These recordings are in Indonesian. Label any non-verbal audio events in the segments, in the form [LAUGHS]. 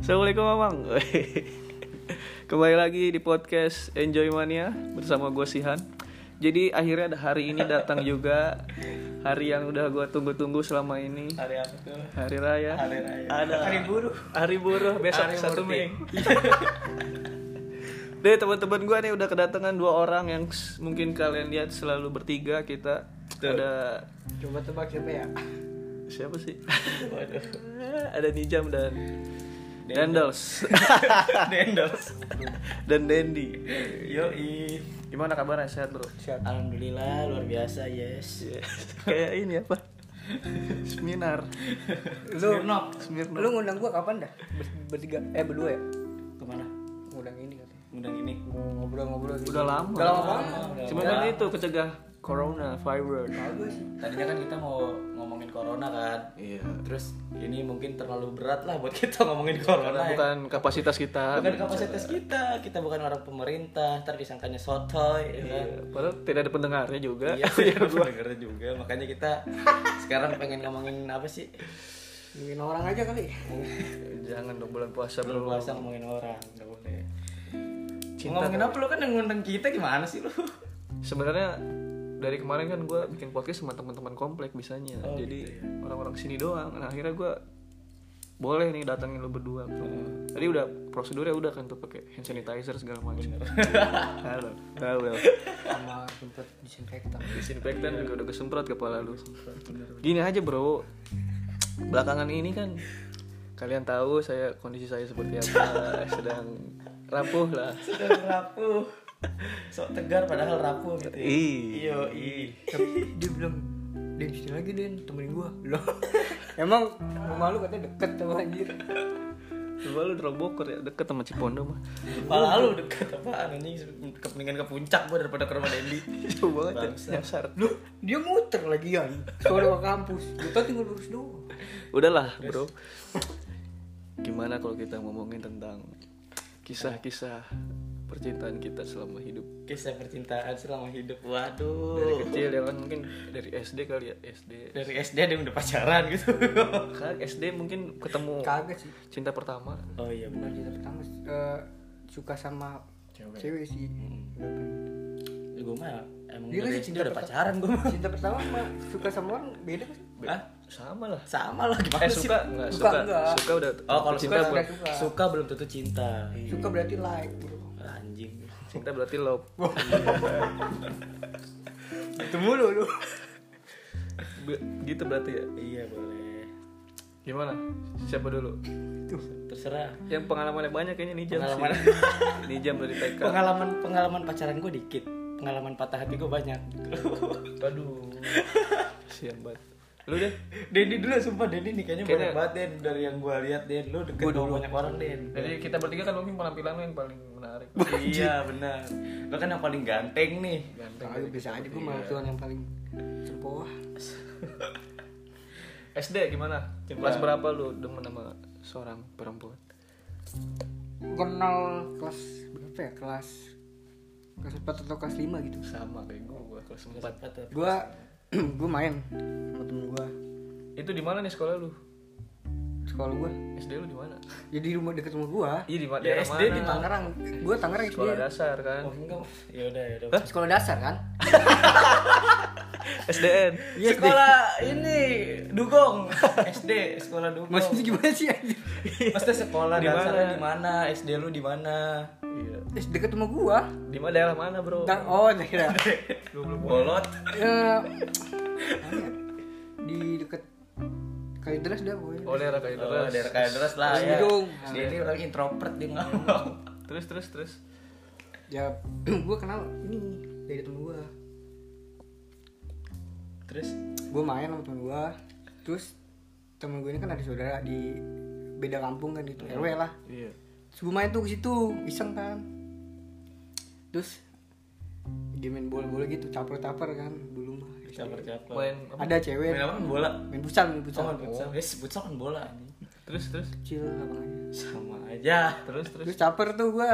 Assalamualaikum Mamang [LAUGHS] Kembali lagi di podcast Enjoy Mania bersama gue Sihan Jadi akhirnya ada hari ini datang juga Hari yang udah gue tunggu-tunggu selama ini Hari apa tuh? Hari Raya Hari raya. Ada Hari buruh. Hari Buruh besok Hari satu Mei Murni. [LAUGHS] Deh teman-teman gue nih udah kedatangan dua orang yang s- mungkin kalian lihat selalu bertiga kita Betul. Ada Coba tebak siapa ya? [LAUGHS] siapa sih? Waduh. ada Nijam dan Dendels Dendos. dan Dendi Yoi. Gimana kabarnya? Sehat bro? Alhamdulillah luar biasa yes. Kayak ini apa? Seminar Lu Smirnoff. Lu ngundang gua kapan dah? Ber- bertiga eh berdua ya? Kemana? Ngundang ini katanya. Undang ini. Ngobrol-ngobrol gitu. Udah lama Udah lama banget. Cuman kan itu kecegah Corona virus Bagus sih. Tadinya kan kita mau ngomongin corona kan. Iya Terus ini mungkin terlalu berat lah buat kita ngomongin corona. Karena ya. bukan kapasitas kita Bukan kapasitas kita, kita bukan orang pemerintah, ntar disangkanya sotoy, ya kan? Iya, Padahal tidak ada pendengarnya juga Iya, iya, pendengar juga. Makanya kita sekarang pengen ngomongin apa sih? Ngomongin orang aja kali. Jangan dong bulan puasa Belum bro puasa ngomongin orang, nggak boleh. Cinta ngomongin apa lu kan yang ngundang kita gimana sih lu? Sebenarnya dari kemarin kan gue bikin podcast sama teman-teman komplek bisanya Oh, Jadi orang-orang sini doang Nah akhirnya gue boleh nih datangin lu berdua bro. Tadi udah prosedurnya udah kan tuh pakai hand sanitizer segala macam. [LAUGHS] Halo, halo. Sama tempat disinfektan. disinfektan juga udah kesemprot kepala lu gini aja bro belakangan ini kan kalian tahu saya kondisi saya seperti apa [LAUGHS] sedang rapuh lah Sudah rapuh. Sok tegar padahal rapuh gitu. ya. Ih. Iyo, i. Tapi dia bilang Den sini lagi Den temenin gua. Loh. Emang rumah lu katanya deket sama anjir. coba lu drobokor ya deket sama Cipondo mah Malah lu dekat apaan anjing kepentingan ke puncak gua daripada ke rumah Dendi. coba aja nyasar Lu dia muter lagi ya. Sore ke kampus. Gua tau tinggal lurus doang. udahlah bro gimana kalau kita ngomongin tentang kisah-kisah percintaan kita selama hidup Kisah percintaan selama hidup. Waduh. dari kecil ya kan mungkin dari SD kali ya SD Dari SD dia udah pacaran [LAUGHS] gitu. kan SD mungkin ketemu Kagak sih. cinta pertama Oh iya benar. Bukan cinta pertama eh, suka sama Cewek. cewek, sih. Gak kayak gitu. Ya, gua mah emang Iya kan dari SD sih, cinta udah pertama. pacaran gua mah. [LAUGHS] Cinta pertama sama suka sama orang beda kan? Hah? sama lah Sama lah eh gimana sih? suka nggak Suka suka enggak? suka udah Oh kalau cinta buat- suka suka, buat- suka. Iya. belum tentu cinta. Suka berarti like bro. Anjing. cinta berarti love Itu mulu lu. Be- gitu berarti ya Iya boleh. gimana siapa dulu Terserah. yang pengalamannya banyak kayaknya nih jam Pengalaman. sih nih jam dari TK pengalaman pengalaman pacaran gue dikit pengalaman patah hati gue [LAUGHS] banyak aduh sian banget lu deh Dendi dulu sumpah Dendi nikahnya Kayaknya- banyak banget Den dari yang gue lihat Den lu deket sama banyak orang Den jadi kita bertiga kan mungkin penampilan lu yang paling menarik iya benar lo kan yang paling ganteng nih ganteng Kagak bisa aja gue malah tuan yang paling cempoah. SD gimana kelas berapa lu demen sama seorang perempuan Kenal kelas berapa ya? Kelas kelas 4 atau kelas 5 gitu. sama kayak gua kelas 4 patah Gua [CLEARS THROAT] gua main sama temen gua. itu di mana nih sekolah lu Sekolah gua. SD lu di mana Jadi rumah deket rumah gua. iya di mana Ya, daerah mana SD di mana? Tangerang. Gua Tangerang SD. sekolah dasar kan oh enggak ya udah ya udah Sekolah dasar kan? SDN Iya, sekolah ini dugong [LAUGHS] SD sekolah dugong [LAUGHS] Maksudnya gimana sih anjir? Maksudnya sekolah Di dasarnya mana? di mana SD lu di mana iya Eh, Deket rumah gua. di mana daerah mana bro Tang oh, kira. bolot [LAUGHS] Eh, apa ya? di deket kayu deras dah pokoknya Oh daerah kayak Oh, terus. daerah kayak deras lah ya. Hidung. Dia ini orang introvert dia ngomong. Terus terus terus. ya [CLEARS THROAT] gue kenal ini dari temen gue [LAUGHS] Terus gue main sama temen gue terus temen gue ini kan ada saudara di beda kampung kan gitu rw lah Iya. terus gue main tuh ke situ iseng kan terus dia main bola-bola gitu caper-caper kan dulu mah siapa-siapa. Main apa? ada cewek Main apa? kan Bola. main futsal main Futsal futsal kan futsal. Eh, futsal kan bola anjing. Terus terus kecil lapangannya Sama aja. terus terus. terus caper tuh gue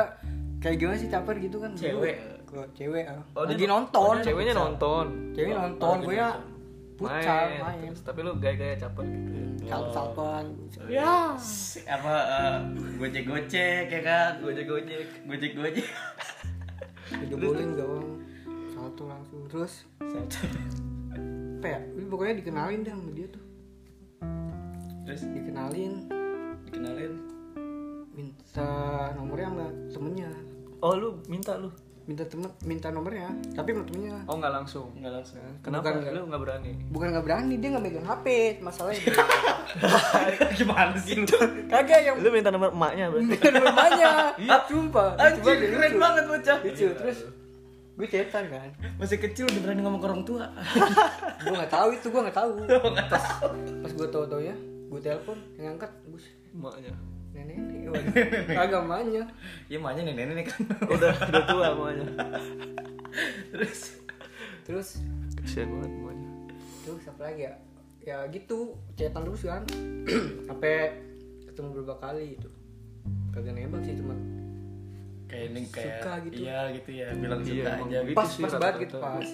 kayak gimana sih caper gitu kan Cewek. Gua- cewek ah. Oh, dia lagi no- nonton oh, ceweknya nonton. cewek nonton gue ya Futsal, main. terus. tapi lu gaya-gaya caper gitu salpon ya apa eh, gojek-gojek ya kan? gojek-gojek Gojek-gojek. digebolin dong salto langsung terus apa ya Ini pokoknya dikenalin deh sama dia tuh Terus dikenalin dikenalin. minta nomornya sama temennya oh lu minta lu minta temen minta nomornya tapi sama temennya oh nggak langsung Enggak langsung. kenapa Bukan, lu nggak berani bukan nggak berani dia nggak megang hp masalahnya [LAUGHS] Gimana sih lu? kagak yang lu minta nomor emaknya berarti minta nomornya Iya, sumpah Anjir, Coba deh, keren lucu. banget bocah. lucu Iya. terus gue cetan kan Masih kecil udah berani ngomong ke orang tua. gue nggak tahu itu gue nggak [LAUGHS] tahu pas pas gue tahu tahu ya gue telepon yang ngangkat bus Eh, emaknya nenek [LAUGHS] agamanya Iya, maknya nenek-nenek kan. udah udah tua emaknya Terus terus kasian banget emaknya terus apa lagi ya ya gitu cetan terus kan [CLEARS THROAT] sampai ketemu berapa kali itu kagak nembak sih cuma kayak ini kayak Suka gitu. iya gitu ya, bilang Iya, suka emang aja gitu. gitu. pas sih pas rata-rata. banget gitu pas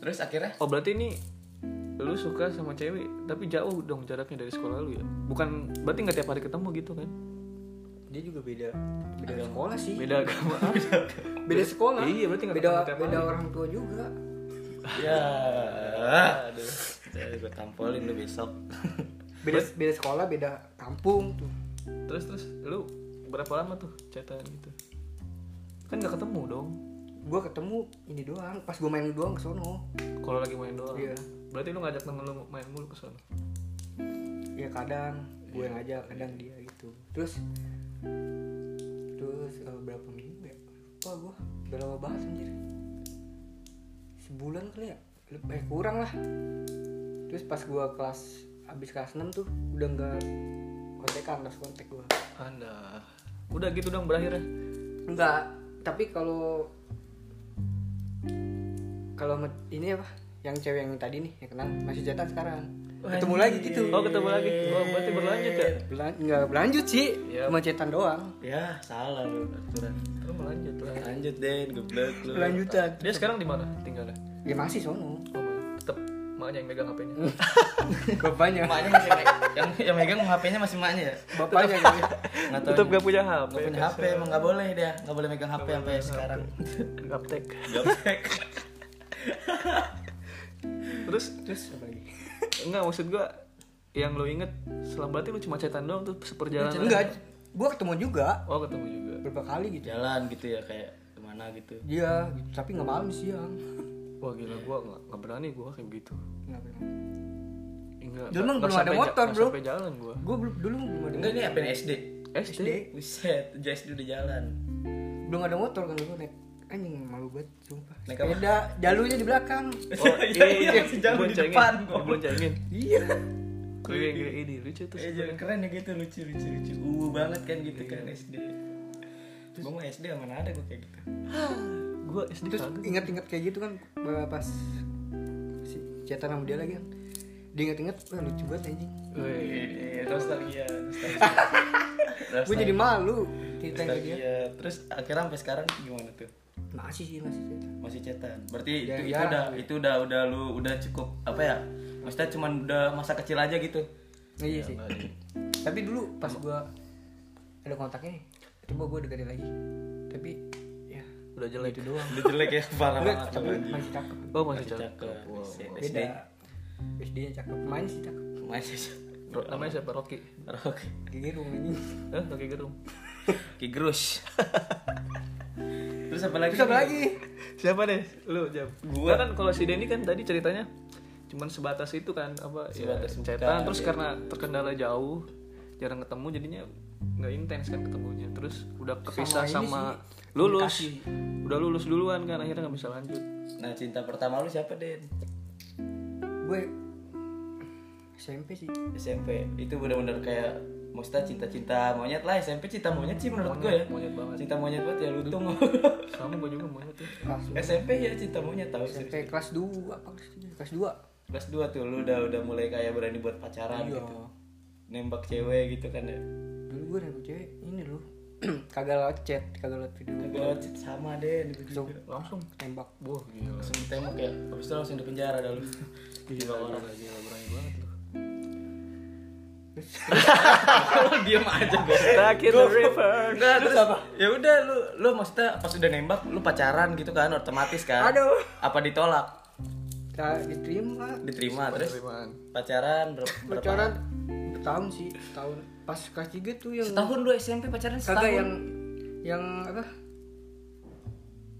Terus akhirnya oh berarti ini lu suka sama cewek tapi jauh dong jaraknya dari sekolah lu ya bukan berarti nggak tiap hari ketemu gitu kan dia juga beda beda sekolah sih beda agama [LAUGHS] beda sekolah Iya, berarti nggak beda ketemu tiap beda hari. orang tua juga ya aduh. Gue tampolin lu besok. beda beda sekolah beda kampung tuh terus terus lu berapa lama tuh catatan gitu kan nggak ketemu dong gue ketemu ini doang pas gue main doang ke sono kalau lagi main doang Iya. berarti lu ngajak temen lu main mulu ke sana ya kadang gue yang aja kadang dia gitu terus terus eh, berapa minggu ya lupa gue udah lama banget anjir sebulan kali ya lebih eh, kurang lah terus pas gue kelas abis kelas 6 tuh udah nggak kontekan lost kontak gue anda udah gitu dong berakhirnya nggak tapi kalau kalau sama- ini apa yang cewek yang tadi nih yang kenal masih jatah sekarang ketemu lagi gitu oh ketemu lagi oh berarti berlanjut ya Belan, nggak berlanjut sih, Iya. cuma cetan doang. Ya, salah lu aturan. oh berlanjut lah Lanjut deh, geblek lu. Berlanjutan. dia sekarang di mana tinggalnya Ya masih sono. oh tetap maknya yang megang [LAUGHS] hpnya Bapaknya, Maknya masih yang yang megang HP-nya masih maknya ya. bapaknya gitu. Enggak tahu. tetap gak punya hp Gak punya HP emang gak boleh dia Gak boleh megang HP sampai sekarang gaptek Gaptek [LAUGHS] terus Terus apa lagi? enggak maksud gua yang lu inget selama berarti lu cuma cetan doang tuh seperjalanan Enggak, gua ketemu juga oh ketemu juga berapa kali gitu. Jalan gitu ya kayak kemana gitu Iya, gitu. tapi nggak malam siang. [LAUGHS] wah gila gua nggak nggak berani gua kayak begitu Kenapa? enggak Dulu emang nggak belum ada sampai ja- motor, nggak bro. sampai jalan gua Gue belum dulu belum ada Enggak ini apa ini, SD SD Buset, SD udah jalan belum ada motor kan gue naik anjing malu banget sumpah. Naik apa? Sepeda, jalurnya di belakang. oh [LAUGHS] Iya, iya, masih jalan di diboncengin, depan, iya. kok. diboncengin Iya. keliling keliling ini lucu tuh Eh jalan keren ya gitu lucu lucu lucu Uwu banget kan gitu kan SD Gue mau SD mana ada gue kayak gitu gua SD Terus kagak. ingat-ingat kayak gitu kan pas si cetan sama dia lagi kan. Diingat-ingat, wah lucu banget anjing. Weh. Iya, nostalgia Gue jadi malu cerita ke dia. Nostalgia Terus akhirnya sampai sekarang gimana tuh? Masih sih masih cerita. masih cetan berarti Ya, itu, itu jarang udah itu udah udah lu udah cukup apa ya maksudnya cuman udah masa kecil aja gitu Iya sih. Tapi dulu pas gua ada kontaknya nih, coba gua deketin lagi. Tapi ya udah jelek itu Gitu doang udah jelek ya parah enggak, banget tapi sama dia. masih cakep. oh masih Masih cakep cakep Wow. SD Beda. SD-nya cakep, main sih cakep. masih Ro- namanya siapa Rocky rock Gini rumahnya. eh Rocky Gerung [LAUGHS] kigrus terus apa lagi Terus apa lagi? siapa deh lu jam gua Gua. kan kalau si Denny kan tadi ceritanya cuman sebatas itu kan apa Sebatas ya, buka, cetan terus ya. karena terkendala jauh jarang ketemu jadinya nggak intens kan ketemunya terus udah kepisah ini sama, sih, lulus komunikasi. udah lulus duluan kan akhirnya nggak bisa lanjut nah cinta pertama lu siapa Den Gue SMP sih. SMP itu benar-benar kayak maksudnya cinta-cinta monyet lah SMP cinta monyet sih menurut gue ya monyet banget. cinta monyet banget ya lutung [LAUGHS] sama gua juga ya. mau tuh Kelas SMP ya cinta monyet tau sih SMP kelas 2 apa kelas 3? Kelas 2. kelas 2 tuh lu udah udah mulai kayak berani buat pacaran Iya. gitu nembak cewek gitu kan ya Dulu gue nembak cewek ini loh. [CLEARS THROAT] kagak lewat chat, kagak lewat video. gue sama deh gitu Langsung langsung tembak. wah gila langsung ditembak ya habis itu langsung di penjara dah lu [LAUGHS] Gila orang gila berani banget lu. Lu diem aja gue Stuck in the river. [LAUGHS] Enggak, terus Ya udah lu lu maksudnya pas udah nembak lu pacaran gitu kan otomatis kan. Aduh. Apa ditolak? Nah, diterima Diterima terus Penerimaan. pacaran ber- berapa? pacaran tahun sih tahun pas kelas tiga tuh yang Setahun lu SMP pacaran setahun. kagak yang yang apa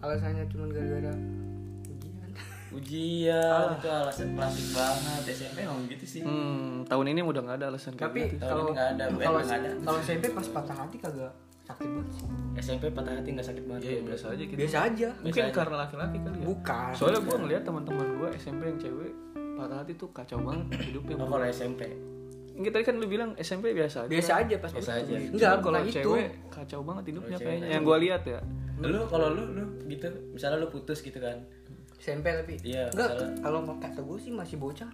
alasannya cuma gara-gara ujian ujian ya, itu alasan klasik banget SMP emang gitu sih. Hmm, tahun ini udah nggak ada alasan kayak tapi gitu. Tahun kalau ini nggak ada, Bu. kalau Emang nggak ada. kalau SMP pas patah hati kagak sakit banget sih. SMP patah hati nggak sakit banget. Iya, ya, biasa aja gitu. biasa aja Mungkin karena laki-laki kali ya. bukan Iya. Soalnya gue ngeliat teman-teman gue SMP yang cewek patah hati tuh kacau banget Oh, hidupnya. kalau SMP. Enggak tadi kan lu bilang SMP biasa aja. biasa aja pas Biasa putus. aja. enggak Cuman kalau bukan itu cewek kacau banget hidupnya Kalau kayaknya. cewek. Yang gue lihat ya. Lu kalau lu lu gitu, misalnya lu putus gitu kan. SMP tapi Iya, enggak masalah. kalau kata gue sih masih bocah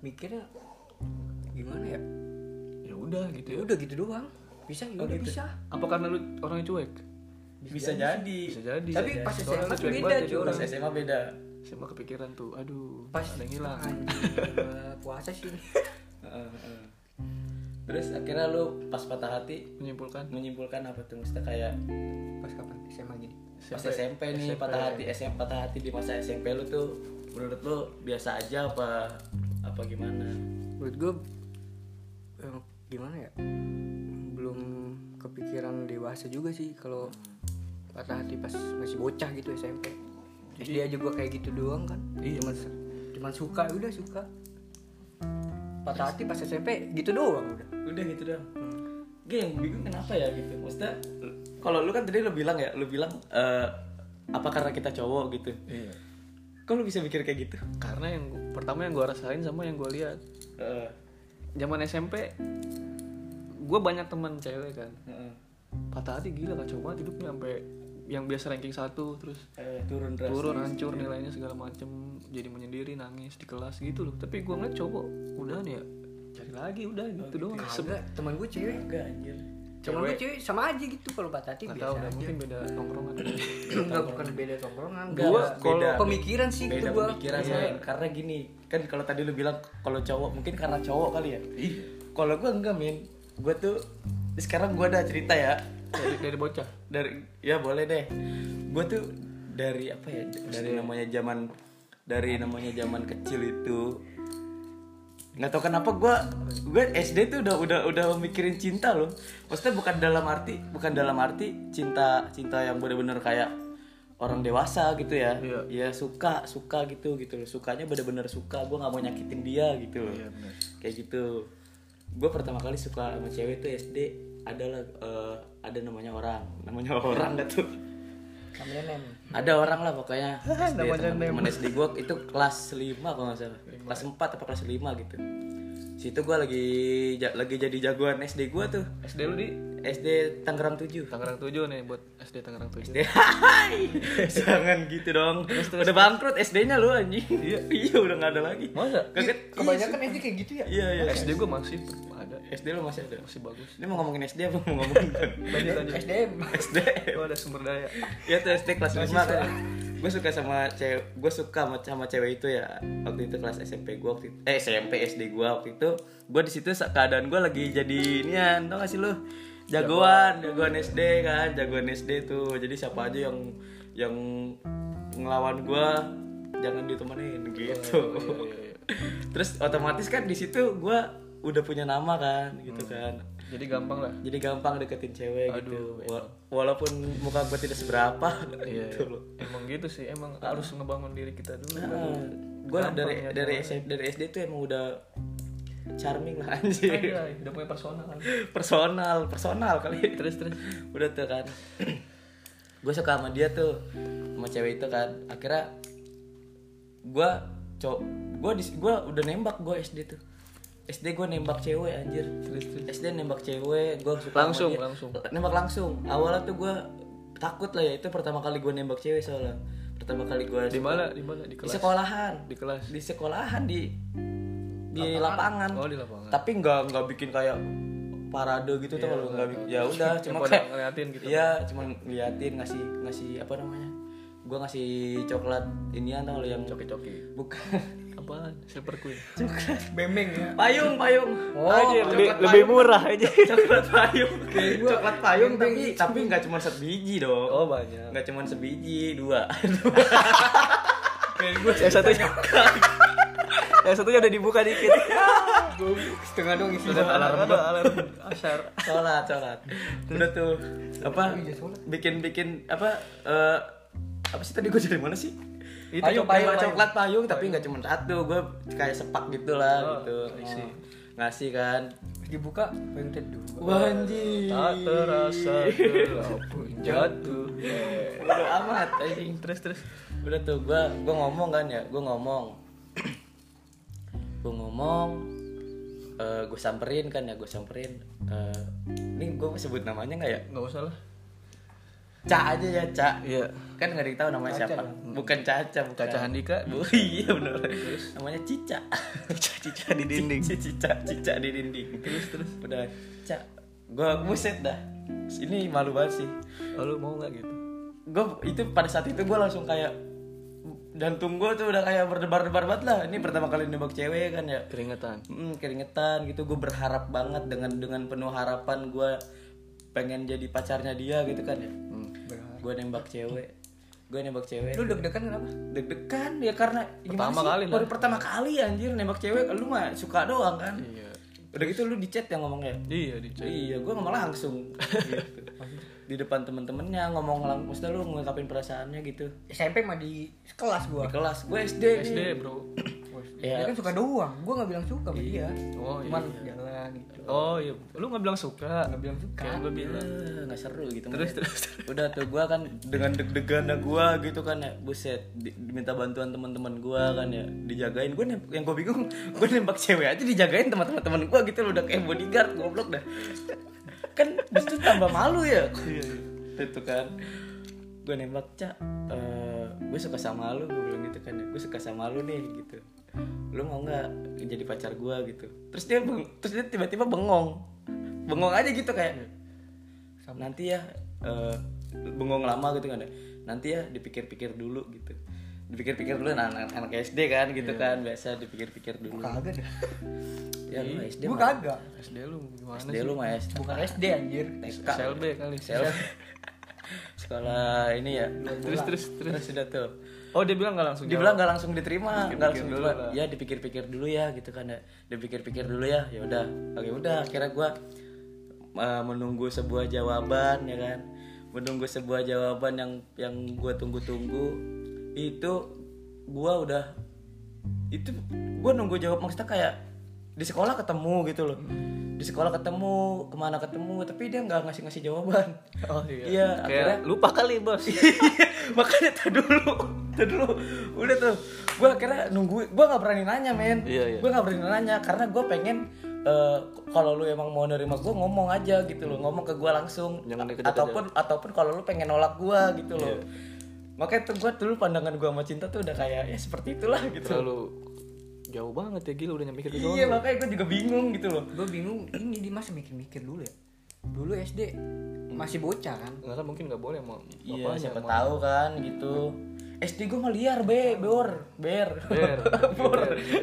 mikirnya gimana ya Ya udah gitu ya ya. udah gitu doang bisa Oh, ya udah gitu. bisa Apa karena lu orangnya cuek? Bisa, jadi. Bisa jadi. tapi Bisa pas jadi. SMA Soalnya cuek beda banget jadi cuy orang. Pas SMA beda. Saya mau kepikiran tuh. Aduh, pas ada yang hilang. Anjing, gua puasa sih Heeh, heeh. Terus akhirnya lu pas patah hati Menyimpulkan menyimpulkan apa tuh maksudnya kayak [LAUGHS] pas kapan SMA gini pas ya? SMP, nih patah hati SMP patah hati di masa SMP lu tuh menurut lu biasa aja apa apa gimana menurut gue gimana ya belum kepikiran dewasa juga sih kalau patah hati pas masih bocah gitu SMP dia juga kayak gitu doang kan Iya. cuman cuman suka udah suka patah hati pas SMP gitu doang udah udah gitu dong gue yang bingung kenapa ya gitu maksudnya lu- kalau lu kan tadi lu bilang ya lu bilang eh, apa karena kita cowok gitu Iya. kok lu bisa mikir kayak gitu Karena yang gua- pertama yang gue rasain sama yang gue lihat Heeh, zaman SMP gue banyak teman cewek kan heeh. patah hati gila kacau banget hidupnya sampai yang biasa ranking satu terus Eh, turun drastis turun hancur nilainya segala macem jadi menyendiri nangis di kelas gitu loh tapi gue ngeliat cowok udah nih ya cari lagi udah gitu doang Sebe- Kagak, teman gue cewek enggak anjir teman gue cewek sama aja gitu kalau patah hati nggak biasa tahu udah aja mungkin beda tongkrongan enggak bukan beda tongkrongan Gua gua kalau- kalau pemikiran sih beda itu gua pemikiran Nay. karena gini kan kalau tadi lu bilang kalau cowok mungkin karena cowok kali ya kalau gue enggak min gue tuh sekarang gue ada cerita ya dari, dari bocah dari ya boleh deh gue tuh dari apa ya dari namanya zaman dari namanya zaman kecil itu nggak tau kenapa gue gue SD tuh udah udah udah mikirin cinta loh maksudnya bukan dalam arti bukan dalam arti cinta cinta yang bener-bener kayak orang dewasa gitu ya Iya. ya suka suka gitu gitu loh sukanya bener-bener suka gue nggak mau nyakitin dia gitu loh kayak gitu gue pertama kali suka sama cewek tuh SD adalah eh, ada namanya orang namanya orang gak tuh namanya nem ada orang lah pokoknya SD teman SD gue itu kelas 5 kalau nggak salah kelas 4 apa kelas 5 gitu situ gue lagi ja- lagi jadi jagoan SD gue tuh SD lu di SD Tangerang 7 Tangerang 7 nih buat SD Tangerang 7 SD [LAUGHS] Hai, jangan gitu dong udah bangkrut SD-nya lu anjing [LAUGHS] iya udah nggak ada lagi Masa? Kaget. kebanyakan SD kayak gitu ya iya iya SD gue masih ada SD lu masih ada masih bagus ini mau ngomongin SD apa mau ngomongin lanjut lanjut SDM SD Gua ada sumber daya ya tuh SD kelas 5 kan gue suka sama cewek gue suka sama, sama cewek itu ya waktu itu kelas SMP gue waktu itu, eh SMP SD gue waktu itu gue di situ sa- keadaan gue lagi jadi nian tau gak sih lu jagoan jagoan SD kan jagoan SD tuh jadi siapa aja yang yang ngelawan gue jangan ditemenin gitu [LAUGHS] terus otomatis kan di situ gue udah punya nama kan gitu kan jadi gampang lah jadi gampang deketin cewek gitu Wa- walaupun muka gue tidak seberapa [LAUGHS] Iya, gitu loh emang gitu sih. Emang harus ngebangun diri kita dulu. gue ya, dari dari SD dari SD tuh emang udah charming lah anjir Iya, udah punya personal. personal personal kali [LAUGHS] Terus terus. udah tuh kan [CLEARS THROAT] gue suka sama dia tuh sama cewek itu kan akhirnya gue cowok gue gua udah nembak gue SD tuh SD gue nembak cewek anjir SD nembak cewek gue suka sama Langsung, dia. langsung. nembak langsung awalnya tuh gue takut lah ya itu pertama kali gue nembak cewek soalnya pertama kali gue Di mana? Di mana? Di di kelas. sekolahan Di kelas. di sekolahan di di lapangan, Oh, di lapangan. Iya, tapi nggak nggak bikin kayak parade gitu tuh kalau nggak bikin ya [LAUGHS] udah cuma pada kayak ngeliatin gitu. iya cuma ngeliatin ngasih ngasih apa namanya gue ngasih coklat inian tau lo yang Coki-coki. bukan [LAUGHS] apaan? Silver Queen. Memeng ya. Payung, payung. Oh, Anjir, iya, lebih, lebih murah aja. Coklat payung. Coklat payung Yang tapi biji. tapi nggak cuma satu biji dong. Oh, banyak. Nggak cuma sebiji, dua. [LAUGHS] Kayak gue Yang satunya Yang satunya udah dibuka dikit. setengah dong isi Ada alarm, ada alarm asar. sholat, sholat. Udah tuh apa? Iya, sholat. Bikin-bikin apa? eh, apa sih tadi gue dari mana sih? Itu payung, coklat, payung, payung. coklat payung, tapi nggak cuma satu. Gue kayak sepak gitu lah Oh, gitu. isi. Ngasih kan. dibuka pengen teduh Wanji. Tak terasa gelap pun jatuh. Udah amat anjing. Terus Eh, terus. udah tuh gue gue ngomong kan ya gue ngomong [CLEARS THROAT] gue ngomong gue samperin kan ya gue samperin eh, ini gue sebut namanya nggak ya Enggak usah lah. Ca aja ya Ca Iya. kan nggak ada yang tahu namanya siapa bukan Caca bukan Caca Handika. [LAUGHS] Bu- iya bener namanya Cica [LAUGHS] Cica Cica di dinding Cica Cica di dinding terus terus udah Ca gue buset dah ini malu banget sih Oh, lu mau nggak gitu? gue itu pada saat itu gue langsung kayak jantung gue tuh udah kayak berdebar-debar banget lah ini pertama kali nembak cewek kan ya Keringetan. Mm, keringetan gitu gue berharap banget dengan dengan penuh harapan gue pengen jadi pacarnya dia gitu kan ya Hmm, gue nembak cewek gue nembak cewek lu deg-degan kenapa deg-degan ya karena gimana Pertama sih? kali lah. baru pertama kali anjir nembak cewek lu mah suka doang kan udah gitu lu di chat yang ngomongnya Iya di Iya, gue ngomong langsung gitu. di depan temen-temennya ngomong langsung. Maksudnya lu ngungkapin perasaannya gitu SMP mah di kelas di gua kelas. Gue SD, SD nih. bro. Ya. dia kan suka doang gua nggak bilang suka sama dia Oh, cuman jalan gitu Oh iya. Lu nggak bilang suka? nggak bilang suka Kayak gue bilang. Eh, nggak seru gitu. Terus, makanya. terus, Udah tuh gue kan dengan deg-degan gue gitu kan ya, buset. Di- Diminta bantuan teman-teman gue kan ya, dijagain. Gue yang gue bingung, [LAUGHS] gue nembak cewek aja dijagain sama teman-teman gue gitu. Lu udah kayak bodyguard, goblok dah. kan justru tambah malu ya. Iya, itu kan gue nembak cak gue suka sama lu gue bilang gitu kan gue suka sama lu nih gitu lu mau nggak jadi pacar gue gitu terus dia beng- terus dia tiba-tiba bengong bengong aja gitu kayak nanti ya eh, bengong lama gitu kan ya. nanti ya dipikir-pikir dulu gitu dipikir-pikir dulu nah, anak, anak SD kan gitu kan biasa dipikir-pikir dulu Iya. kagak deh [LAUGHS] ya lu SD gua mah- kagak SD lu gimana SD lu mah SD bukan SD anjir TK SLB kali. Sel- [LAUGHS] sekolah ini ya [LAUGHS] Terus terus terus. terus sudah tuh Oh dia bilang nggak langsung. dibilang nggak langsung diterima nggak langsung dulu dulu ya dipikir-pikir dulu ya gitu kan ya dipikir-pikir dulu ya ya udah oke udah akhirnya gue menunggu sebuah jawaban ya kan menunggu sebuah jawaban yang yang gue tunggu-tunggu itu gue udah itu gue nunggu jawab maksudnya kayak di sekolah ketemu gitu loh Hmm. di sekolah ketemu kemana ketemu tapi dia nggak ngasih ngasih jawaban Oh iya. Iya, Kayak akhirnya- Iya. lupa kali bos. [LAUGHS] makanya tak dulu tak dulu udah tuh gue akhirnya nungguin gue nggak berani nanya men Iya, iya. gue nggak berani nanya karena gue pengen eh, kalau lu emang mau nerima gue ngomong aja gitu loh ngomong ke gue langsung Jangan deket-deket Iya. ataupun ataupun kalau lu pengen nolak gue gitu loh makanya tuh gue dulu pandangan gue sama cinta tuh udah kayak ya seperti itulah gitu Terlalu jauh banget ya gila udah nyampe ke iya makanya gue juga bingung gitu loh gua bingung ini di masa mikir-mikir dulu ya dulu SD masih bocah kan Nggak kan mungkin nggak boleh mau. iya apanya, siapa mau- tahu kan gitu SD gue meliar be bor ber Ber. [LAUGHS] bor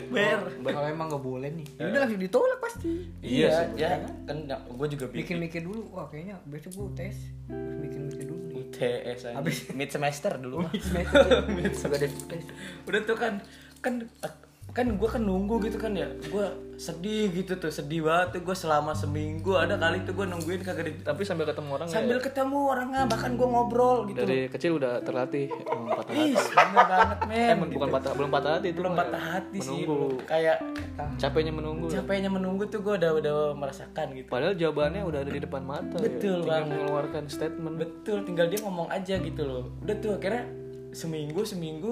ber kalau emang nggak boleh nih ya udah langsung ditolak pasti Iya sih, ya kan gue juga bingung mikir-mikir dulu wah kayaknya besok gua tes Terus mikir-mikir dulu nih UTS aja. mid semester Oh, dulu mah. iya. [LAUGHS] Mid semester. Udah tuh kan kan kan gue kan nunggu gitu kan ya gue sedih gitu tuh sedih banget tuh gue selama seminggu ada kali tuh gue nungguin kagak di- Tapi sambil ketemu orang nggak sambil ketemu orangnya bahkan gue ngobrol ya. gitu Dari kecil Iya. udah terlatih emang patah hati. Ih, bener banget men Eh, men- bukan patah, belum patah hati itu belum mah ya. patah hati sih menunggu. belum. kayak Capeknya menunggu. capeknya menunggu tuh gue udah udah merasakan gitu Padahal jawabannya udah ada di depan mata. Betul ya. Tinggal mengeluarkan statement. Betul, tinggal dia ngomong aja gitu loh. Udah tuh akhirnya seminggu seminggu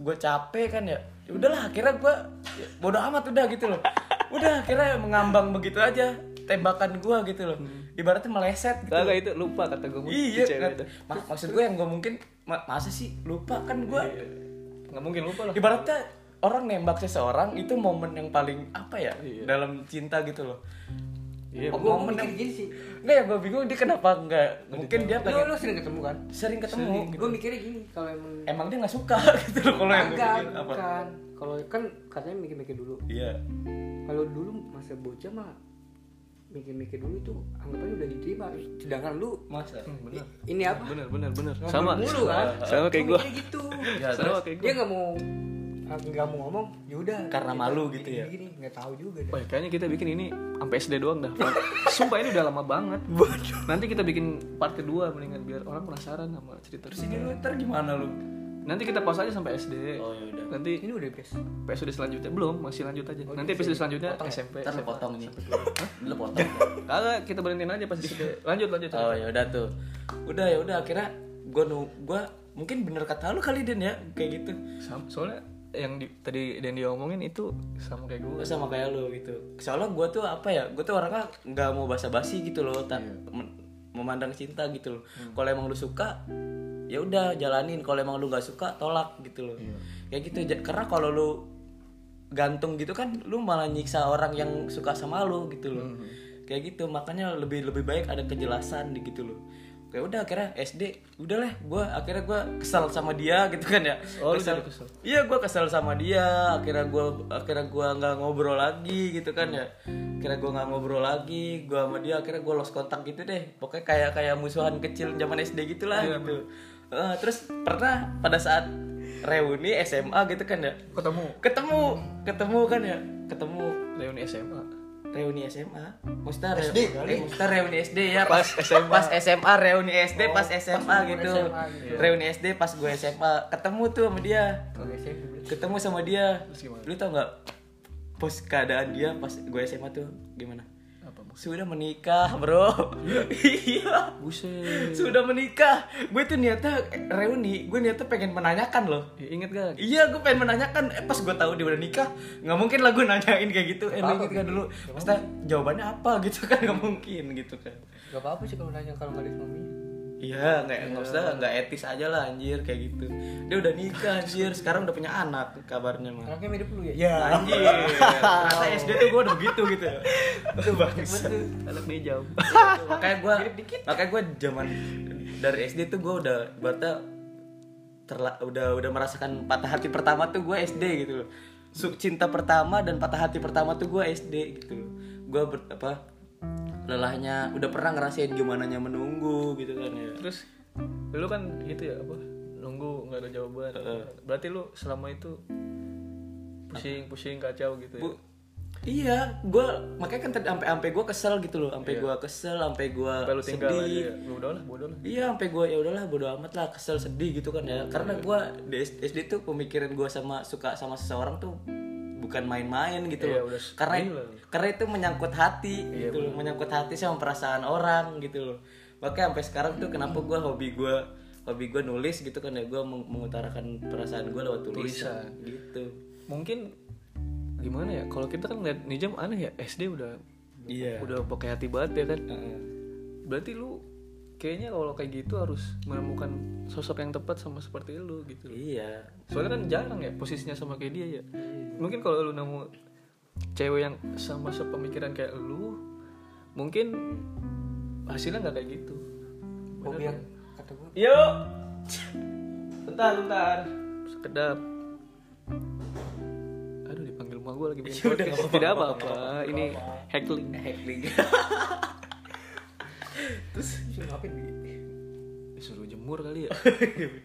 gue capek kan ya. Ya Udahlah akhirnya gue bodo amat udah gitu loh. Udah akhirnya mengambang begitu aja tembakan gue gitu loh. Ibaratnya meleset gitu. Kagak itu lupa kata gue Hmm. mungkin Iya, cewek itu. kat- Ma- maksud gue yang gue mungkin ma- masa sih lupa kan gue. Iya, Nggak mungkin lupa lah. Ibaratnya orang nembak seseorang itu momen yang paling apa ya Iya. dalam cinta gitu loh. Iya, momen yang mikir gini sih Nggak ya gue bingung dia kenapa nggak mungkin dia lu pengen lu sering ketemu kan sering ketemu gue mikirnya gini kalau emang emang dia nggak suka [LAUGHS] gitu loh kalau yang gue Kagak, bikin apa bukan kalau kan katanya mikir-mikir dulu Iya. kalau dulu masa bocah mah mikir-mikir dulu itu anggapannya udah diterima sedangkan lu Masa? Hmm. bener ini apa bener bener bener Ngomong sama mulu kan sama kayak Lu gua mikirnya gitu Ya, sama terus kayak gua dia nggak mau nggak mau ngomong ya udah Karena malu gitu ya? gini nggak tahu juga dah. Wah, kayaknya kita bikin ini sampai SD doang dah. Sumpah ini udah lama banget. Nanti kita bikin part kedua mendingan biar orang penasaran sama cerita. terus ini lu ntar gimana lu? Nanti kita pause aja sampai SD. Oh ya udah. Nanti ini udah biasa episode selanjutnya belum, masih lanjut aja. Nanti episode selanjutnya SMP. Ntar lu potong nih. Lu potong. Kagak, kita berhentiin aja pas [LAUGHS] SD. Lanjut lanjut. oh ya udah tuh. Udah ya udah akhirnya gua nu gua mungkin bener kata lu kali Den ya kayak gitu. Sam- Soalnya yang di- tadi dan dia omongin itu sama kayak gue. Gua sama kayak lu gitu. Soalnya gua tuh apa ya? Gua tuh orangnya nggak mau basa-basi gitu loh. ta- men- memandang cinta gitu loh. Kalau emang lu suka ya udah jalanin. Kalau emang lu nggak suka tolak gitu loh. Kayak gitu Ja- karena kalau lu gantung gitu kan lu malah nyiksa orang yang suka sama lu gitu loh. Kayak gitu makanya lebih lebih baik ada kejelasan di gitu loh. Kayak udah akhirnya SD udahlah gua akhirnya gua kesal sama dia gitu kan ya. Oh, lu jadi Kesel. kesel. Iya gue kesel sama dia akhirnya gue akhirnya gua nggak ngobrol lagi gitu kan ya akhirnya gue nggak ngobrol lagi gue sama dia akhirnya gue lost kontak gitu deh pokoknya kayak kayak musuhan kecil zaman SD gitulah Iya, gitu Eh, terus pernah pada saat reuni SMA gitu kan ya Ketemu ketemu ketemu kan ya ketemu reuni SMA. reuni SMA maksudnya reuni SD maksudnya reuni SD ya Pas SMA. pas SMA reuni SD pas SMA gitu reuni SD pas gue SMA ketemu tuh sama dia Kalau SMP berarti. ketemu sama dia Terus gimana? lu tau nggak pas keadaan dia pas gue SMA tuh gimana Apa? Bang? sudah menikah bro iya Buset. sudah menikah gue tuh niatnya reuni gue niatnya pengen menanyakan loh Ya, inget gak? Iya, gue pengen menanyakan. Eh, pas gue tahu dia udah nikah, nggak mungkin lah gue nanyain kayak gitu. Eh, lu inget kan dulu? Maksudnya jawabannya apa [LAUGHS] gitu kan? Nggak mungkin gitu kan? Gak apa-apa sih kalau nanya kalau nggak ada suaminya. Iya, nggak nggak usah, nggak etis aja lah anjir kayak gitu. Dia udah nikah anjir, sekarang udah punya anak kabarnya mah. Anaknya mirip lu ya? Iya. Anjir, ternyata SD tuh gue udah begitu gitu ya. Itu bagus. Anak dia jauh. makanya gue, makanya gue zaman dari SD tuh gue udah bata terla, udah udah merasakan patah hati pertama tuh gue SD gitu loh. Suk cinta pertama dan patah hati pertama tuh gue SD gitu loh. Gue ber, apa lelahnya udah pernah ngerasain gimana nya menunggu gitu kan ya. [LAUGHS] Terus lu kan gitu ya apa? Nunggu nggak ada jawaban. Berarti lu selama itu pusing pusing kacau gitu ya. Bu- iya, gue makanya kan tadi sampai sampai gue kesel gitu loh, sampai gua gue kesel, sampai gue Sampai Iya. lu tinggal sedih, aja. Ya. Lu udah lah, bodoh lah. Iya, sampai gue ya udahlah bodo amat lah, kesel sedih gitu kan Oh, ya. Karena iya. gue di SD tuh pemikiran gue sama suka sama seseorang tuh bukan main-main gitu Iya, loh. udah sedih Karena lah. Iya, karena itu menyangkut hati gitu loh, menyangkut hati sama perasaan orang gitu loh. Makanya sampai sekarang tuh kenapa gue hobi gue hobi gue nulis gitu kan ya gue mengutarakan perasaan gue lewat tulisan, gitu. Mungkin gimana ya? Kalau kita kan ngeliat Nijam aneh ya, SD udah Iya. udah pakai hati banget ya kan. Heeh. Berarti lu kayaknya kalau kayak gitu harus menemukan sosok yang tepat sama seperti lu gitu loh. Iya. Soalnya kan jarang ya posisinya sama kayak dia ya. Mungkin kalau lu nemu cewek yang sama sepemikiran kayak lu, mungkin hasilnya nggak kayak gitu. kan? Hobi yang kata gue Yuk. Bentar, bentar. Sekedap. Aduh dipanggil rumah gue [LAUGHS] lagi Iya, bikin podcast. Tidak apa-apa. Ini heckling. [LAUGHS] Heckling. sih ngapain Bi? Disuruh Eh, jemur kali [LAUGHS] ya.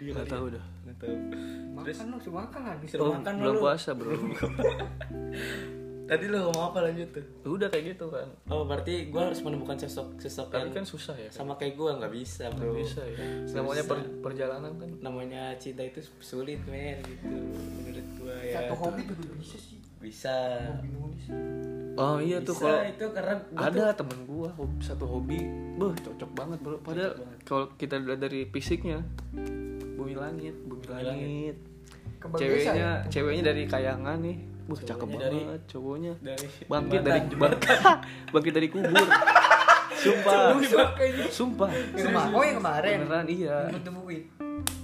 Gak tahu dah. [LAUGHS] Nggak tahu. Makan lu, suruh makan lagi Disuruh Oh. makan lah Belum lu. puasa [LAUGHS] bro. Tadi lu ngomong apa lanjut tuh? Udah kayak gitu kan. Oh berarti gue harus menemukan sosok sosok Tapi yang kan susah ya. sama kayak gue nggak bisa bro. Bisa ya. Namanya per- perjalanan kan. Namanya cinta itu sulit men gitu menurut gue ya. Satu hobi juga bisa sih Bisa. Hobi nulis Oh iya Bisa tuh kalau itu karena gua ada temen gua hob- satu hobi beuh cocok banget bro padahal kalau kita lihat dari fisiknya bumi langit bumi langit Kembang desa ceweknya ya? ceweknya dari kayangan nih Wah, cakep banget cowoknya dari [LAUGHS] bangkit dari jembatan [LAUGHS] bangkit dari kubur sumpah sumpah Kema- Oh yang kemarin beneran iya Bentuk buku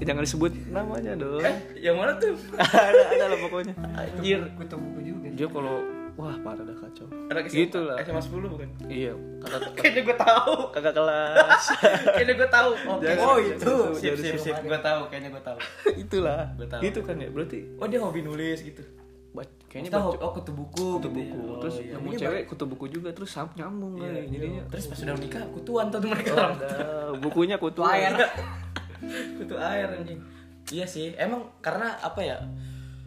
Eh, jangan disebut namanya dong yang mana tuh? [LAUGHS] ada ada lah pokoknya Anjir Bentuk buku juga dia kalau wah parah dah kacau Anak SMA, gitu lah SMA 10 [LAUGHS] bukan? iya kakak Kayaknya gue tahu. kakak kelas [LAUGHS] Kayaknya gue tahu. Oke. Jangan, Oh jangan, itu. jangan, Sip jangan. sip sip. Gue tahu. Kayaknya gue tahu. itulah Gua tahu. gitu kan ya berarti Oh dia hobi nulis gitu. Kayaknya Kita baca oh kutu buku kutu gitu buku. ya. Oh, Terus iya. nemu Ini cewek kutu buku juga terus sam- nyambung Iya, kan. iya. Jadinya terus pas udah nikah kutuan tuh Oh, mereka orang [LAUGHS] ada bukunya kutu Air. [LAUGHS] Iya. kutu air anjing iya sih emang karena apa ya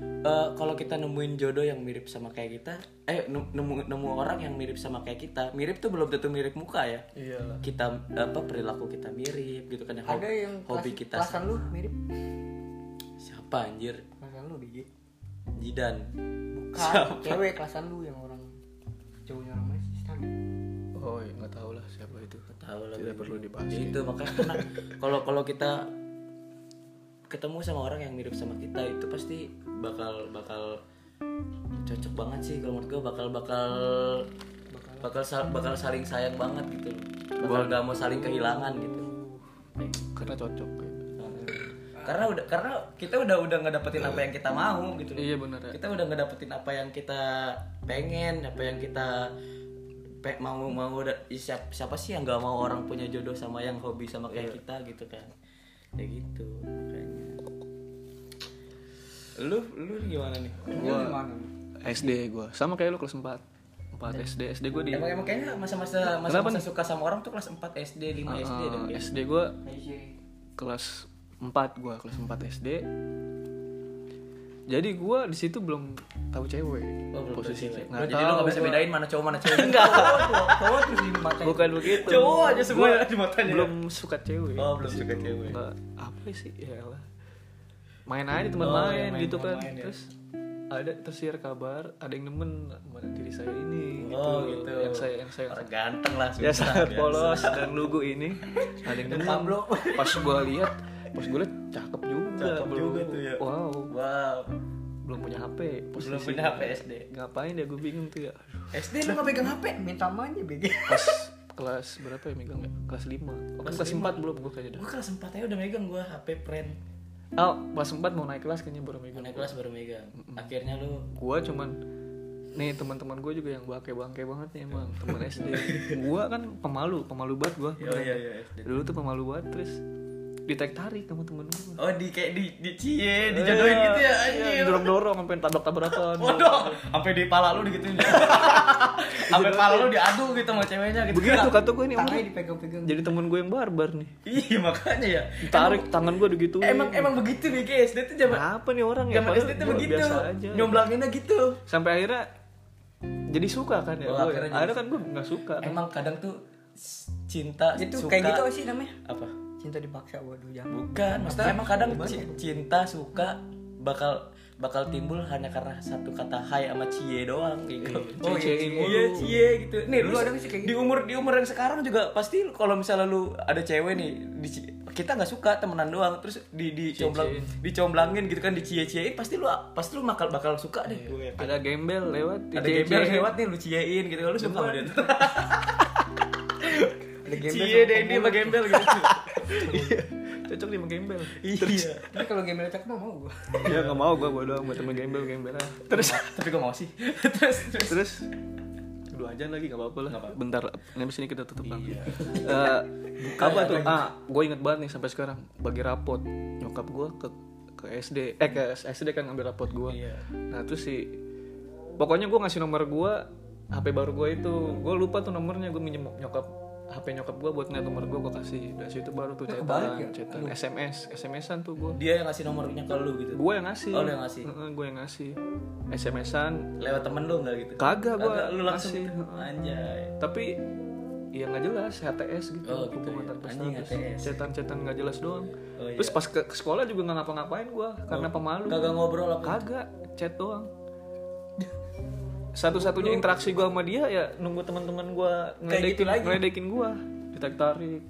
eh, kalau kita nemuin jodoh yang mirip sama kayak kita eh nu- nemu nemu orang yang mirip sama kayak kita mirip tuh belum tentu mirip muka ya Iya. kita apa perilaku kita mirip gitu kan Ada hobi- yang hobi kelas- kita kelasan lu mirip siapa anjir kelasan lu DJ. Jidan Bukan, cewek kelasan lu yang orang cowoknya orang Messi standar. Oh, iya, nggak tahu lah siapa itu. kan. tahu lah Tidak Bim. perlu dibahas. Ya itu makanya karena kalau kalau kita ketemu sama orang yang mirip sama kita itu pasti bakal bakal cocok banget sih kalau menurut gue bakal bakal bakal sa- bakal saling sayang banget gitu bakal gak mau saling kehilangan gitu Karena cocok. gitu. karena udah karena kita udah udah ngedapetin apa yang kita mau gitu loh. Iya, benar ya. kita udah ngedapetin apa yang kita pengen apa yang kita pe- mau mau da- ih, siap- siapa sih yang nggak mau orang punya jodoh sama yang hobi sama kayak kita gitu kan kayak gitu makanya lu lu gimana nih Gua gimana? SD gua. Sama kayak lu kelas 4. 4 SD. SD gua di emang emang kayaknya masa-masa masa-masa suka sama orang tuh kelas 4 SD 5 SD dan Eh, SD gua Messi. kelas 4 gua, kelas 4 SD. Jadi gua di situ belum tahu cewek posisinya. posisinya. Nggak Oh, jadi lu nggak tahu bisa gua. bedain mana cowok mana [LAUGHS] cewek. Enggak. Cowok terus di mata. Bukan begitu. Cowok aja semua Gua di matanya. Belum suka cewek. Oh, belum suka cewek. Nggak, apa sih? Ya lah. Main aja teman Oh, main, main- main- gitu kan. main-main ya. Terus ada tersiar kabar ada yang nemen mana diri saya ini Oh gitu. yang saya yang saya Orang ganteng lah. ya susah, sangat biasa. polos dan lugu ini ada yang depan Pablo. pas gue lihat pas gue lihat cakep juga Cakep bro. juga tuh ya. wow Wow. belum punya hp posisi. Belum punya HP SD. ngapain ya gue bingung tuh ya Aduh, SD lu nggak pegang HP? Minta manja BG. pas kelas berapa ya megang ya kelas 5 oh, kan kelas 4 belum gue kayaknya dah Gue kelas 4 aja udah megang gue HP friend. oh kelas 4 mau naik kelas kayaknya baru megang Mulai kelas baru megang. Akhirnya lu gue cuman nih teman-teman gue juga yang bangke bangke banget nih emang teman SD gue kan pemalu pemalu banget gue iya, iya, SD. dulu tuh pemalu banget terus ditarik tarik sama temen gue Oh di kayak di di Eh, cie, dijodohin gitu ya Oh, anjir. dorong dorong Iya, sampai tabrak tabrakan Waduh, sampai di pala lu [LAUGHS] digituin. Sampai pala lu diadu gitu sama ceweknya gitu. begitu kata gue ini Tangannya orang dipegang-pegang. jadi temen gue yang barbar nih Iya makanya ya. tarik tangan gue gitu Emang emang begitu nih guys, dia tuh zaman apa nih orang ya zaman Padahal SD tuh gua begitu. biasa aja Nyomblanginnya gitu. sampai akhirnya jadi suka kan ya Oh, gue akhirnya jadi akhirnya kan gue nggak suka kan. Emang kadang tuh s- cinta Itu suka kayak gitu sih namanya. apa? Cinta dipaksa waduh jangan. Bukan, maksudnya emang kadang ci- cinta suka bakal bakal timbul hanya karena satu kata hai sama cie doang gitu. Oh, iya, cie-ciein mulu. iya cie gitu. Nih lu Dulu ada nggak sih kayak di umur di umur yang sekarang juga pasti lu- kalau misalnya lu ada cewek nih di- kita nggak suka temenan doang terus di dicomblang dicomblangin gitu kan dicie-ciein pasti lu pasti lu bakal bakal suka deh. Gue yakin. ada gembel lewat Ada dijejer. gembel lewat nih lu ciein gitu lu suka sama [LAUGHS] dia. Ada gembel. Cie deh ini sama gembel gitu. Iya, [LAUGHS] cocok nih sama gembel [LAUGHS] Iya. Tapi kalau gembel cakep mah mau gua. ya nggak mau gue bodo sama temen gembel gembel aja. terus Tapi gue mau sih. [LAUGHS] terus terus terus dua jam lagi nggak apa-apa lah bentar nanti sini kita tutup bang Eh, apa tuh ah gue inget banget nih sampai sekarang bagi rapot nyokap gue ke ke SD eh ke SD kan ngambil rapot gue Iya. nah terus si pokoknya gue ngasih nomor gue HP baru gue itu gue lupa tuh nomornya gue minjem nyokap HP nyokap gue buat ngeliat nomor gue gue kasih dari situ baru tuh kebalik ya? cetan cetan SMS SMSan tuh gue dia yang ngasih nomornya ke lu gitu gue yang ngasih Oh, lu yang ngasih. gue yang ngasih SMS-an lewat temen lu nggak gitu Kagak, gua Kagak, lu langsung ngasih. gitu. anjay tapi ya nggak jelas HTS gitu Oh, gitu hubungan ya. tanpa Anjing, status. HTS. cetan-cetan nggak jelas doang Oh, iya. Oh. terus pas ke, ke sekolah juga nggak ngapa-ngapain gua karena pemalu kagak ngobrol apa kagak chat doang satu-satunya interaksi gua sama dia ya nunggu teman-teman gua ngeledekin gitu lagi. ngeledekin gua ditarik tarik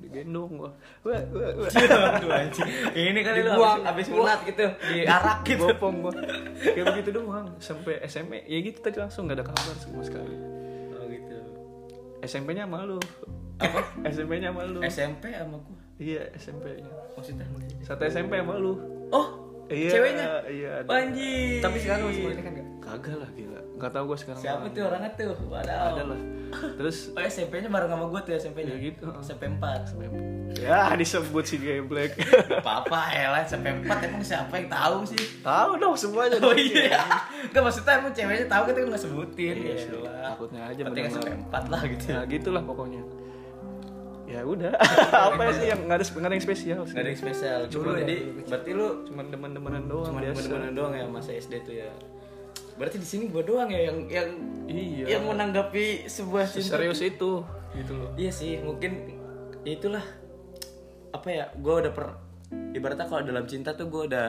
digendong gua wah, wah, wah. Aduh, gitu, anjing. ini kali lu Dibuang. habis, habis sunat gitu diarak gitu bopong gua kayak begitu doang sampai SMA ya gitu tadi langsung nggak ada kabar sama sekali oh gitu SMP-nya sama lu apa SMP-nya sama lu SMP sama gua Iya SMP-nya. maksudnya Satu SMP sama lu. oh Iya. ceweknya Iya. ada. anjing Tapi sekarang masih boleh kan enggak? Kagak lah gila. Nggak tahu gue sekarang. siapa tuh orangnya tuh Ada waduh lah. terus Oh SMP-nya bareng sama gue tuh SMP-nya. Ya gitu, heeh. SMP 4. ya disebut si geblek [LAUGHS] Gak apa-apa ya lah SMP 4 emang siapa yang tahu sih? tahu dong semuanya Oh iya. Enggak maksudnya emang ceweknya tahu kita enggak sebutin Iya ya. sih, elah. takutnya aja Penting mendengar. SMP 4 lah gitu. nah gitulah pokoknya ya udah [LAUGHS] apa sih yang nggak ada nggak ada yang spesial sih Gak ada yang spesial. Cuma Dulu ya, jadi dulu. berarti lu cuman teman-temanan doang cuma biasa temen-temenan doang ya masa SD tuh ya. Berarti di sini gua doang ya yang yang Iya. yang menanggapi sebuah cinta. serius itu gitu loh Iya sih, mungkin ya itulah apa ya? Gue udah per ibaratnya kalau dalam cinta tuh gue udah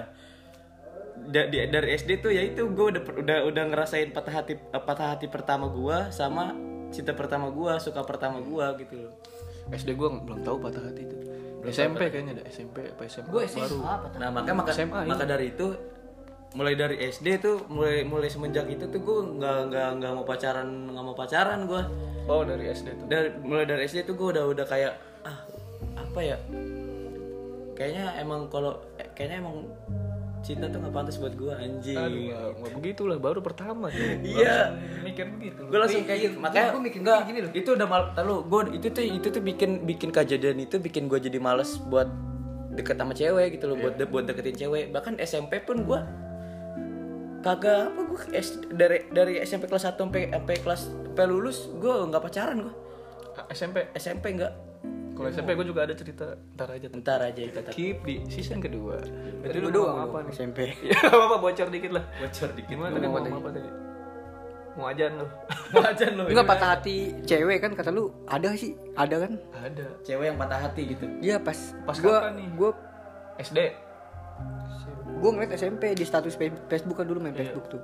da- di- dari SD tuh ya itu gue udah per- udah udah ngerasain patah hati eh, patah hati pertama gue sama cinta pertama gue suka pertama gue gitu loh. SD gue belum tahu patah hati itu SMP kayaknya ada SMP apa SMA Gue SMA baru apa? Nah maka maka SMA, maka dari itu mulai dari SD tuh mulai mulai semenjak itu tuh gue nggak nggak nggak mau pacaran nggak mau pacaran gue. oh dari SD tuh dari mulai dari SD tuh gue udah udah kayak ah apa ya kayaknya emang kalau eh, kayaknya emang cinta tuh nggak pantas buat gue Aduh, anjing nggak- nggak begitulah baru pertama tuh. Iya. Langsung mikir begitu. gue langsung kayak gitu makanya gua mikir nggak, kayak gini loh. itu udah mal lalu gue itu tuh itu tuh bikin bikin kejadian itu bikin gue jadi males buat deket sama cewek gitu loh buat Iya. de- buat deketin cewek bahkan SMP pun gue kagak apa gue dari dari SMP kelas 1 sampai sampai kelas sampai lulus gue nggak pacaran gue Ah, SMP. SMP nggak Kalau SMP gue juga ada cerita ntar aja. tuh. ntar aja kita Keep di season kedua. Berarti lu doang apa [LAUGHS] nih SMP? Ya nggak apa-apa bocor dikit lah. bocor dikit Gimana tadi mau ngomong apa tadi? Mau ajan lu. wajan lo Enggak patah hati cewek kan kata lu ada sih, ada kan? Ada. cewek yang patah hati gitu Iya pas Pas gua kapan nih? gua SD. gua ngeliat SMP di status Fe- Facebook kan dulu main Facebook tuh.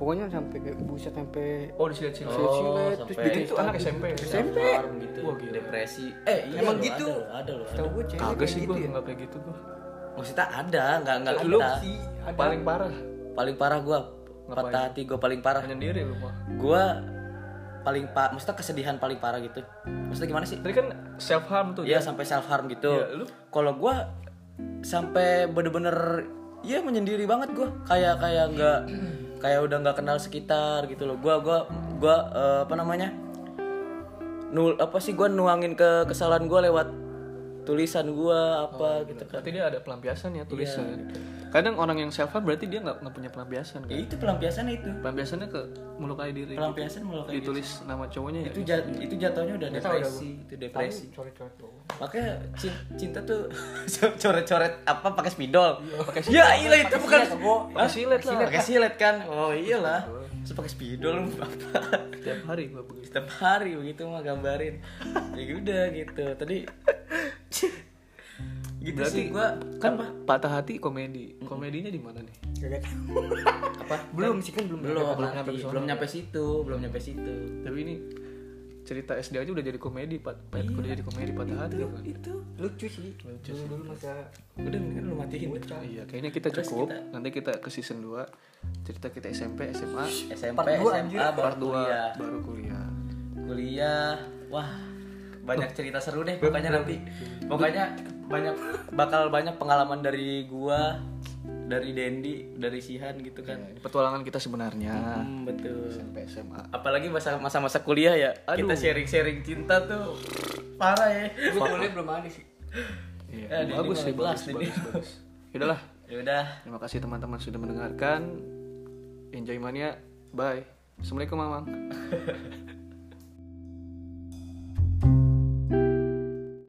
Pokoknya sampai kayak buset sampai Oh disilet-silet. Oh, silet, terus sampai- bikin Itu anak SMP. SMP. Alarm gitu Wah, gila. depresi eh iya Emang loh, gitu? ada loh, ada loh ada. Tahu gua cewek Kagak kayak sih gitu gue ya. nggak kayak gitu gue. maksudnya ada nggak nggak Lu kita sih paling parah. paling parah gua patah hati gua paling parah Menyendiri lu mah. gua paling pak maksudnya kesedihan paling parah gitu maksudnya gimana sih Tadi kan self harm tuh. ya sampai self harm gitu Iya, lu? kalau gua sampai bener-bener ya menyendiri banget gua kayak kayak nggak kayak udah nggak kenal sekitar gitu loh gua gua gua eh, apa namanya nul apa sih gua nuangin ke kesalahan gua lewat tulisan gua apa gitu kan Berarti dia ada pelampiasan ya tulisan. Iya, gitu. Kadang orang yang self harm berarti dia nggak nggak punya pelampiasan ya kan. itu pelampiasan itu Pelampiasannya ke melukai diri. pelampiasan melukai diri. Ditulis nama cowoknya ya. itu jat- itu jatuhnya udah depresi itu depresi Coret-coret doang. makanya cin- cinta tuh [LAUGHS] coret-coret apa pakai spidol ya iya itu bukan Pakai silet lah. pakai silet kan oh iyalah terus pakai spidol [LAUGHS] lu apa Tiap hari gua begitu. setiap hari begitu mah gambarin ya udah gitu tadi gitu Berarti sih gua kan patah hati komedi. Komedinya di mana nih? Kagak tahu. apa Belum sih kan belum. belum belum nanti, nyampe ke sono. belum nyampe situ belum nyampe situ Tapi ini cerita SD aja udah jadi komedi, Pat. Pat Iya. udah jadi komedi patah hati kan. itu Lucu sih. Lucu sih. Dulu masih ada- udah mendingan lu matiin Iya, kayaknya kita cukup. Nanti kita ke season 2 cerita kita SMP, SMA, SMP Part dua, SMA anjir. baru part 2 kuliah baru kuliah. kuliah wah banyak cerita seru deh pokoknya nanti pokoknya banyak bakal banyak pengalaman dari gua dari Dendi dari Sihan gitu kan Ini petualangan kita Iya. sebenarnya. Hmm, betul SMP, SMA. apalagi masa masa-masa kuliah ya kita sharing-sharing cinta tuh parah ya Gua kuliah belum ada sih. Iya, di bagus lima sih, belas bagus, Eh, ini. bagus, bagus. Yaudahlah, ya udah terima kasih teman-teman sudah mendengarkan. Enjoy mania. Bye. Assalamualaikum, Mamang.